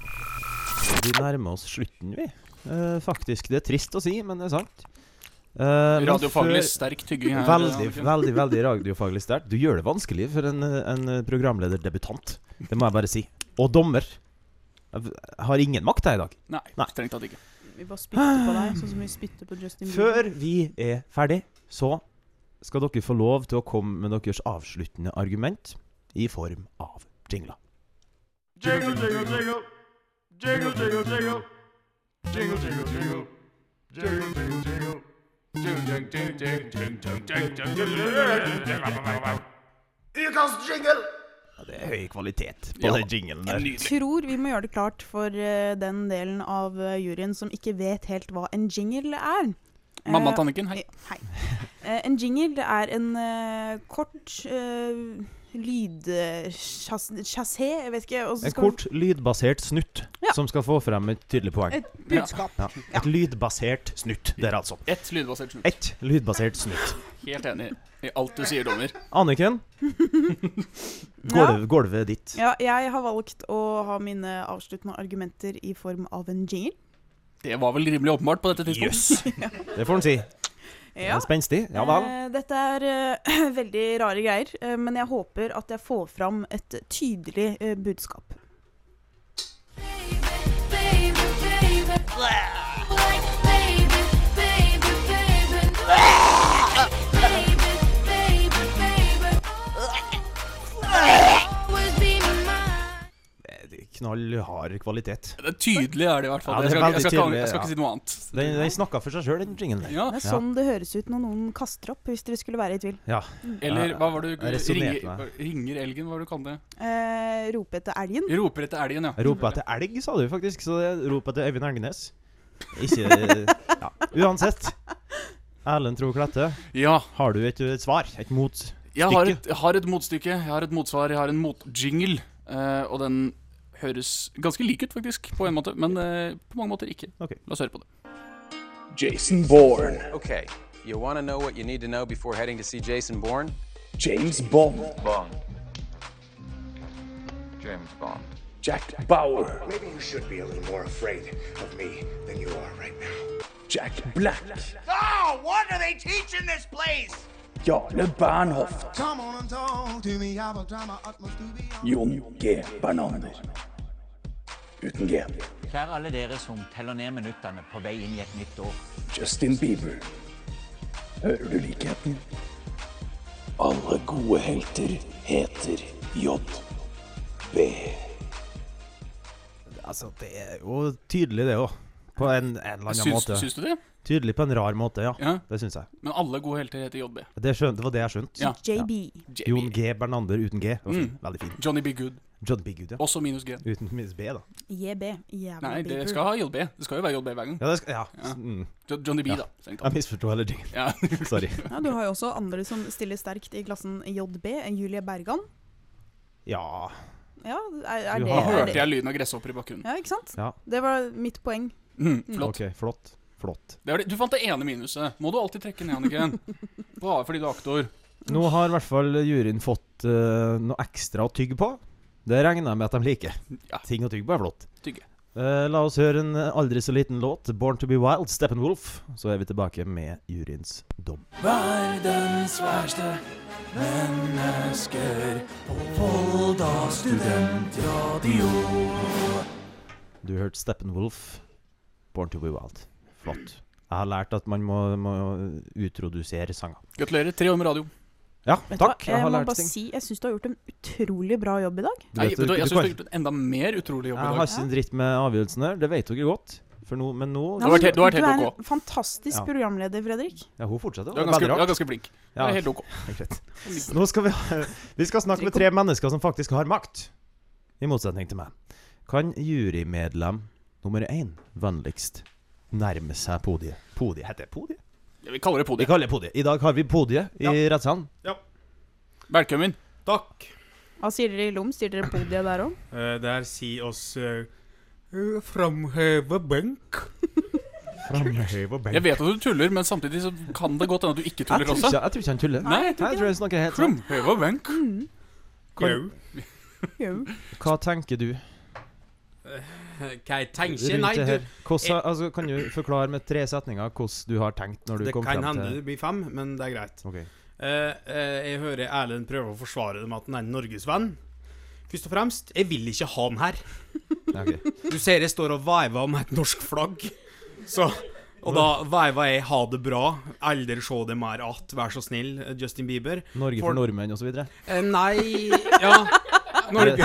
Speaker 6: Vi nærmer oss slutten, vi. Eh, faktisk. Det er trist å si, men det er sant. Eh, men
Speaker 7: Radiofaglig
Speaker 6: før-
Speaker 7: sterk tygging her.
Speaker 6: Veldig, veldig veldig radiofaglig sterkt. Du gjør det vanskelig for en, eh, en programlederdebutant. Det må jeg bare si. Og dommer. Jeg v- har ingen makt her i dag.
Speaker 7: Nei, strengt tatt ikke.
Speaker 8: Vi bare spytter på deg, sånn som vi spytter på Justin
Speaker 6: Før vi er ferdig, så skal dere få lov til å komme med deres avsluttende argument i form av jingler.
Speaker 14: Jingle, jingle, jingle. Jingle, jingle, jingle. Jingle, jingle, jingle. Jingle, jingle, jingle. Jingle, jingle, jingle, jingle, jingle, jingle, jingle. Ukas jingle!
Speaker 6: Det er høy kvalitet på
Speaker 14: Ja,
Speaker 6: den jinglen der.
Speaker 8: Jeg tror vi må gjøre det klart for eh, den delen av eh, juryen som ikke vet helt hva en jingle er. Eh,
Speaker 7: Mamma Tanniken, hei.
Speaker 8: eh, hei. Eh, en jingle det er en eh, kort uh, lydchassé, jeg vet ikke. og så
Speaker 6: En
Speaker 8: skal vi-
Speaker 6: kort, lydbasert snutt
Speaker 8: Ja.
Speaker 6: som skal få frem et tydelig poeng.
Speaker 8: Et budskap.
Speaker 6: Ja. Ja. Et lydbasert snutt, der altså.
Speaker 7: Ett lydbasert snutt.
Speaker 6: Et lydbasert snutt.
Speaker 7: Helt enig i alt du sier, dommer.
Speaker 6: Anniken,
Speaker 8: Ja.
Speaker 6: gulv, gulvet er ditt.
Speaker 8: Ja, jeg har valgt å ha mine avsluttende argumenter i form av en jingle.
Speaker 7: Det var vel rimelig åpenbart på dette tidspunktet.
Speaker 6: Det får en si. Ja. Spenstig. Ja vel.
Speaker 8: Eh, Dette er eh, veldig rare greier, eh, men jeg håper at jeg får fram et tydelig eh, budskap. Eh.
Speaker 6: Knallhard kvalitet.
Speaker 7: Det er tydelig er det i hvert fall.
Speaker 6: Ja, det er
Speaker 7: jeg, skal, jeg,
Speaker 6: veldig
Speaker 7: skal, ikke-
Speaker 6: tydelig,
Speaker 7: jeg skal
Speaker 6: ja.
Speaker 7: ikke si noe annet.
Speaker 6: Den, den snakka for seg sjøl, den jingen der.
Speaker 8: Det er sånn det høres ut når noen kaster opp, hvis dere skulle være i tvil.
Speaker 6: Ja.
Speaker 7: Eller hva var det
Speaker 6: Jeg
Speaker 7: du
Speaker 6: resonerte
Speaker 7: ringer,
Speaker 6: meg.
Speaker 7: ringer elgen, hva var det du kalte det?
Speaker 8: Eh, rope etter elgen.
Speaker 7: Roper etter elgen, ja.
Speaker 6: Rop etter elg, sa du faktisk. Så det rop etter Øyvind Elgenes. Ikke ja. Uansett. Erlend Tro Klette,
Speaker 7: Ja.
Speaker 6: har du et, et svar? Et motstykke?
Speaker 7: Jeg har et, jeg har et motstykke, jeg har et motsvar, jeg har en motjingle. eh, og den høres ganske lik ut, faktisk, på en måte, men eh, på mange måter ikke. La oss høre på det.
Speaker 15: Jason Bourne. Okay, you want to know what you need to know before heading to see Jason Bourne? James Bond. Bond. James Bond. Jack Bauer.
Speaker 16: Maybe you should be a little more afraid of me than you are right now.
Speaker 15: Jack Black.
Speaker 16: Oh, what do they teach in this place?
Speaker 15: Jarle Bernhoft.
Speaker 16: Come on and talk to me. I will try my utmost to be.
Speaker 15: Jon G. Bernander. Uten G.
Speaker 17: Kjære alle dere som teller ned minuttene på vei inn i et nytt år.
Speaker 15: Justin Bieber. Hører du likheten? Alle gode helter heter J. B.
Speaker 6: Altså, det er jo tydelig, det òg. På en, en eller annen
Speaker 7: Syns-
Speaker 6: måte.
Speaker 7: syns du det?
Speaker 6: Tydelig på en rar måte, ja.
Speaker 7: Ja.
Speaker 6: Det syns jeg.
Speaker 7: Men alle gode helter heter JB.
Speaker 6: Det, skjønte, det var det jeg skjønte.
Speaker 7: Ja. JB.
Speaker 6: Ja. Jon G. Bernander uten G. Det var fin.
Speaker 7: Mm.
Speaker 6: Veldig fin.
Speaker 7: Johnny B. Good.
Speaker 6: John B. Good, ja.
Speaker 7: Også minus G.
Speaker 6: Uten minus B, da.
Speaker 8: JB. Jævla
Speaker 7: Nei, det
Speaker 8: Bieber.
Speaker 7: skal ha JB. Det skal jo være JB hver gang.
Speaker 6: Ja, det skal, ja.
Speaker 7: Ja.
Speaker 6: Mm.
Speaker 7: Jo- Johnny B,
Speaker 6: Ja.
Speaker 7: da. strengt tatt.
Speaker 6: Jeg misforsto hele jingen.
Speaker 7: Ja.
Speaker 6: Sorry.
Speaker 8: Ja, du har jo også andre som stiller sterkt i klassen JB. Julie Bergan.
Speaker 6: Ja
Speaker 8: Ja, er, er
Speaker 6: Du
Speaker 8: det,
Speaker 6: har-
Speaker 8: er
Speaker 7: Hørte
Speaker 8: det-
Speaker 7: jeg lyden av gresshopper i bakgrunnen?
Speaker 8: Ja, ikke sant?
Speaker 6: Ja.
Speaker 8: Det var mitt poeng.
Speaker 7: Mm,
Speaker 8: Mm.
Speaker 7: flott.
Speaker 6: Ok, flott. Flott.
Speaker 7: Det er det. Du fant det ene minuset. Må du alltid trekke ned, Anniken? Bare fordi du er aktor.
Speaker 6: Nå har i hvert fall juryen fått eh, noe ekstra å tygge på. Det regner jeg med at de liker. Ting å tygge på er flott.
Speaker 7: Tygge.
Speaker 6: Eh, la oss høre en aldri så liten låt, 'Born to be Wild', Steppenwolf. Så er vi tilbake med juryens dom.
Speaker 14: Verdens verste mennesker på Volda studentradio.
Speaker 6: Du hørte Steppenwolf, 'Born to be Wild'. Flott. Jeg har lært at man må, må utrodusere sanger.
Speaker 7: Gratulerer. Tre år med radio.
Speaker 6: Ja,
Speaker 8: Vet du hva,
Speaker 6: takk. Jeg har
Speaker 8: må
Speaker 6: lært
Speaker 8: bare
Speaker 6: ting.
Speaker 8: si, jeg syns du har gjort en utrolig bra jobb i dag.
Speaker 6: Du
Speaker 7: Nei,
Speaker 6: vet,
Speaker 7: vet du, hva,
Speaker 6: du
Speaker 7: jeg syns du har
Speaker 6: kan-
Speaker 7: gjort en enda mer utrolig jobb
Speaker 6: Jeg
Speaker 7: i
Speaker 6: har
Speaker 7: dag.
Speaker 6: ikke en dritt med avgjørelsen her. Det vet dere godt. For nå, men nå
Speaker 8: Nei, men du- du er en fantastisk
Speaker 6: Ja.
Speaker 8: programleder, Fredrik.
Speaker 6: Ja, hun fortsetter.
Speaker 7: Du er
Speaker 6: Det
Speaker 7: ganske-
Speaker 6: veldig rart.
Speaker 7: du er ganske blink. Du er helt ok.
Speaker 6: greit. Nå skal vi, ha- vi skal snakke med tre mennesker som faktisk har makt. I motsetning til meg. Kan jurymedlem nummer én vennligst nærme seg podiet? Podiet heter det podiet?
Speaker 7: Ja, Vi kaller det podiet.
Speaker 6: Vi kaller det podiet. I dag har vi podiet i rettssalen.
Speaker 7: Velkommen.
Speaker 9: Takk.
Speaker 8: Hva sier dere i Lom? Sier dere podiet der òg?
Speaker 9: Eh, der si oss eh, Framheve benk.
Speaker 6: Framheve
Speaker 7: Jeg vet at du tuller, men samtidig så kan det godt hende at du ikke tuller
Speaker 6: Jeg tror
Speaker 7: også.
Speaker 6: ikke- jeg tror ikke han tuller.
Speaker 7: Nei,
Speaker 6: Nei, jeg tror han snakker helt sant.
Speaker 7: Framheve benk.
Speaker 6: Kan-
Speaker 8: Jo.
Speaker 6: Hva tenker du?
Speaker 9: Hva jeg tenker?
Speaker 6: rundt
Speaker 9: Nei,
Speaker 6: det
Speaker 9: du
Speaker 6: her? Hvordan, altså, kan du forklare med tre setninger hvordan du har tenkt når du
Speaker 9: Det
Speaker 6: kom
Speaker 9: kan
Speaker 6: frem
Speaker 9: hende
Speaker 6: til
Speaker 9: det blir fem, men det er greit.
Speaker 6: Ok.
Speaker 9: Eh, eh, jeg hører Erlend prøve å forsvare det med at han er en norgesvenn. Først og fremst, jeg vil ikke ha han her. Du ser jeg står og veiver med et norsk flagg. Så, og da veiver jeg 'ha det bra', aldri se det mer att, vær så snill, Justin Bieber.
Speaker 6: Norge for nordmenn og så videre?
Speaker 9: Eh, nei Ja. Norge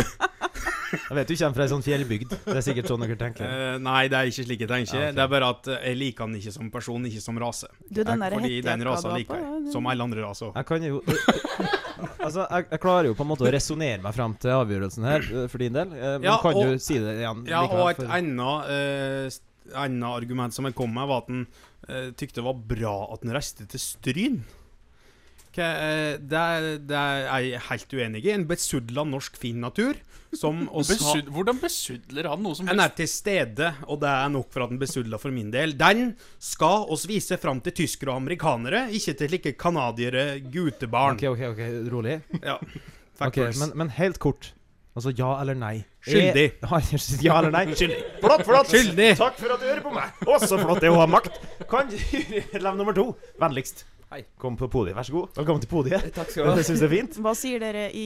Speaker 6: Eh, Jeg vet du kommer fra ei sånn fjellbygd. Det er sikkert sånn dere tenker.
Speaker 9: Eh, nei, det er ikke slik jeg tenker.
Speaker 6: Ja, ok.
Speaker 9: Det er bare at eh, jeg liker han ikke som person, ikke som rase.
Speaker 8: Du, den der
Speaker 9: Fordi
Speaker 8: hettejakka
Speaker 9: den
Speaker 8: du
Speaker 9: rasa
Speaker 8: har på,
Speaker 9: liker
Speaker 8: ja,
Speaker 9: jeg.
Speaker 8: den-
Speaker 9: Som alle andre raser
Speaker 6: Jeg kan jo Altså, jeg, jeg klarer jo på en måte å resonnere meg fram til avgjørelsen her, eh, for din del. eh, Men
Speaker 9: Ja,
Speaker 6: kan du
Speaker 9: og-
Speaker 6: si det igjen?
Speaker 9: Ja,
Speaker 6: likevel,
Speaker 9: og et
Speaker 6: for-
Speaker 9: annet eh, st- annet argument som jeg kom med, var at han eh, tykte det var bra at han reiste til Stryn. Ok, eh, det, er- det er jeg helt uenig i. En besudla norsk fin natur som oss har-
Speaker 7: Besud, hvordan besudler han noe som
Speaker 9: En er til stede, og det er nok for at den besudla for min del. Den skal oss vise fram til tyskere og amerikanere, ikke til like canadiere, gutebarn.
Speaker 6: Ok, ok, ok, rolig.
Speaker 9: Ja.
Speaker 6: Ok,
Speaker 9: Factors.
Speaker 6: men, men helt kort. Altså ja eller nei.
Speaker 9: Skyldig.
Speaker 6: Er- Har jeg- Ja eller nei?
Speaker 9: Skyldig.
Speaker 6: Flott, flott.
Speaker 9: Skyldig.
Speaker 6: Takk for at du hører på meg. Å, så flott det er å ha makt. Kan du Lev nummer to. Vennligst. Hei. Kom på podiet, vær så god. Velkommen til podiet.
Speaker 10: Takk skal du ha.
Speaker 6: Det syns jeg er fint.
Speaker 8: Hva sier dere i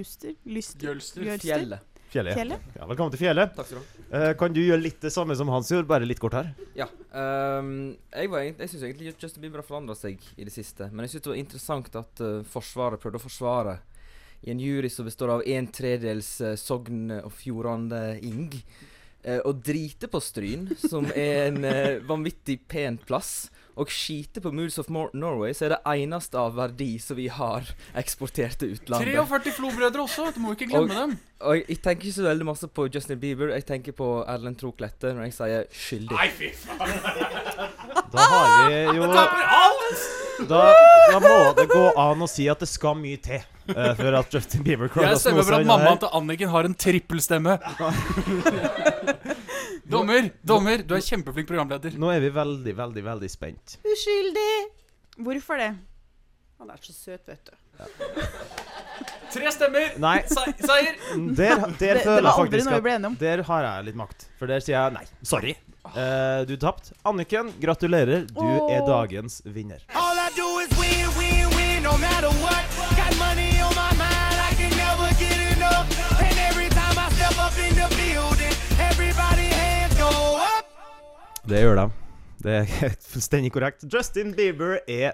Speaker 8: Juster? Lyster?
Speaker 7: Jølster.
Speaker 10: Fjellet.
Speaker 6: Fjellet. ja.
Speaker 8: Fjellet?
Speaker 6: Ja, velkommen til Fjellet.
Speaker 10: Takk skal du
Speaker 6: ha. kan du gjøre litt det samme som Hans gjorde, bare litt kort her?
Speaker 10: Ja. ehm, jeg var egentlig, jeg syns egentlig Justin Bieber har forandra seg i det siste. Men jeg syns det var interessant at eh, Forsvaret prøvde å forsvare i en jury som består av en tredels eh, Sogn og Fjordane-ing. eh, å drite på Stryn, som er en eh, vanvittig pen plass, og skite på Moods of Mor Norway, så er det eneste av verdi som vi har eksportert til utlandet.
Speaker 7: 43 Flo-brødre også, du må ikke glemme
Speaker 10: og,
Speaker 7: dem.
Speaker 10: Og jeg tenker ikke så veldig masse på Justin Bieber, jeg tenker på Erlend Troklette når jeg sier 'skyldig'.
Speaker 7: Nei, fy faen.
Speaker 6: Da har vi jo da, da må det gå an å si at det skal mye til eh, for at Justin Bieber klarer
Speaker 7: Jeg
Speaker 6: å
Speaker 7: stemmer
Speaker 6: sno
Speaker 7: for
Speaker 6: seg
Speaker 7: at
Speaker 6: unna
Speaker 7: mammaen
Speaker 6: her.
Speaker 7: til Anniken har en trippelstemme. Dommer, dommer, du er kjempeflink programleder.
Speaker 6: Nå er vi veldig, veldig, veldig spent.
Speaker 3: Uskyldig!
Speaker 8: Hvorfor det?
Speaker 3: Han er så søt, vet du.
Speaker 7: Tre stemmer.
Speaker 6: Nei.
Speaker 7: Se- Seier.
Speaker 6: Der, der føler jeg faktisk
Speaker 8: noe vi ble enige
Speaker 6: at Der har jeg litt makt, for der sier jeg nei. Sorry. Eh, du tapte. Anniken, gratulerer. Du er
Speaker 18: Åh.
Speaker 6: dagens vinner.
Speaker 18: All I do is win, win, win, no matter what. Got money on my mind, I can never get enough. And every time I step up in the building, everybody hands go up.
Speaker 6: Det gjør de. Det er fullstendig korrekt. Justin Bieber er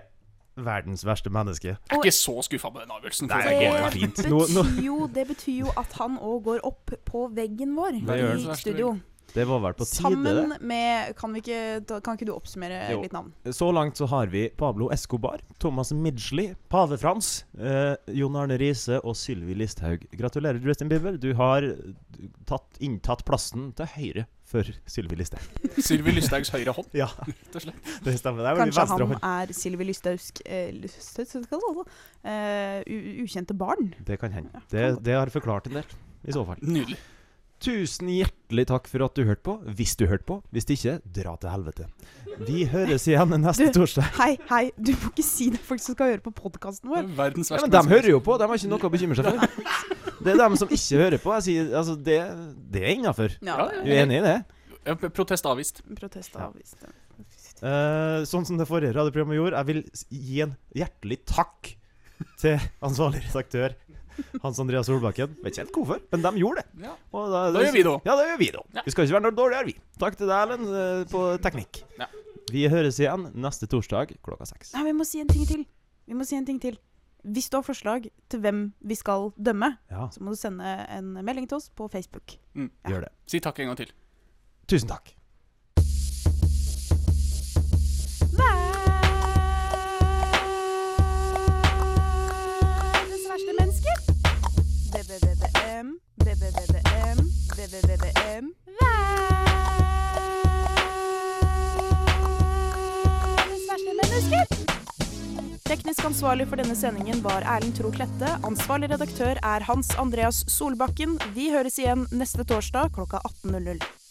Speaker 6: verdens verste menneske.
Speaker 7: Jeg er ikke så skuffa med den avgjørelsen. for
Speaker 6: Nei,
Speaker 7: å
Speaker 6: det
Speaker 7: være
Speaker 6: går
Speaker 7: helt ærlig.
Speaker 6: fint.
Speaker 8: Det
Speaker 6: Nå- nå-
Speaker 8: betyr jo, det betyr jo at han òg går opp på veggen vår
Speaker 6: Det gjør
Speaker 8: i
Speaker 6: han.
Speaker 8: studio.
Speaker 6: Det var vel på tide, det.
Speaker 8: Sammen med Kan, vi ikke, ta- kan ikke du oppsummere
Speaker 6: Jo.
Speaker 8: litt navn?
Speaker 6: Så langt så har vi Pablo Escobar, Thomas Midgely, Pave Frans, eh, Jon Arne Riise og Sylvi Listhaug. Gratulerer, Justin Bieber. Du har tatt, inntatt plassen til høyre for Sylvi Listhaug.
Speaker 7: sånn. Sylvi Listhaugs høyre hånd,
Speaker 6: Ja.
Speaker 7: rett og slett.
Speaker 6: Det stemmer. Det er vel
Speaker 8: Kanskje
Speaker 6: venstre
Speaker 8: han
Speaker 6: hånd.
Speaker 8: er Sylvi Lysthaugs eh, Lysthaug- eh, u- ukjente barn?
Speaker 6: Det kan hende. Det, det har forklart en del, i så fall.
Speaker 7: Nydelig.
Speaker 6: Tusen hjertelig takk for at du hørte på, hvis du hørte på. Hvis ikke, dra til helvete. Vi høres igjen neste torsdag.
Speaker 8: Hei, hei, du må ikke si det er folk som skal høre på podkasten vår.
Speaker 7: Verdens
Speaker 6: Ja, men de hører jo på, de har ikke noe å bekymre seg for. Det er dem som ikke hører på. Jeg sier, altså, det, det er innafor.
Speaker 8: Ja, det er-
Speaker 6: Du er enig i det?
Speaker 7: Ja, Protest avvist.
Speaker 8: Protest avvist.
Speaker 6: Eh, sånn som det forrige radioprogrammet gjorde, jeg vil s- gi en hjertelig takk til ansvarlig redaktør Hans Andreas Solbakken. Vet ikke helt hvorfor, men de gjorde det.
Speaker 7: Ja.
Speaker 6: Og
Speaker 7: Da gjør vi det også.
Speaker 6: Ja, da gjør vi det også.
Speaker 7: Ja.
Speaker 6: Vi skal ikke være noe dårligere, vi. Takk til deg, Erlend, eh, på teknikk.
Speaker 7: Ja.
Speaker 6: Vi høres igjen neste torsdag klokka seks.
Speaker 8: Nei, vi må si en ting til. Vi må si en ting til. Hvis du har forslag til hvem vi skal dømme,
Speaker 6: Ja.
Speaker 8: så må du sende en melding til oss på Facebook.
Speaker 7: Mm.
Speaker 6: Gjør det.
Speaker 7: Si takk en gang til.
Speaker 6: Tusen takk.
Speaker 8: Verdens verste menneske. BBBBM, BBBBM, BBBBM. Verdens verste menneske. Teknisk ansvarlig for denne sendingen var Erlend Tro Klette. Ansvarlig redaktør er Hans Andreas Solbakken. Vi høres igjen neste torsdag klokka 18.00.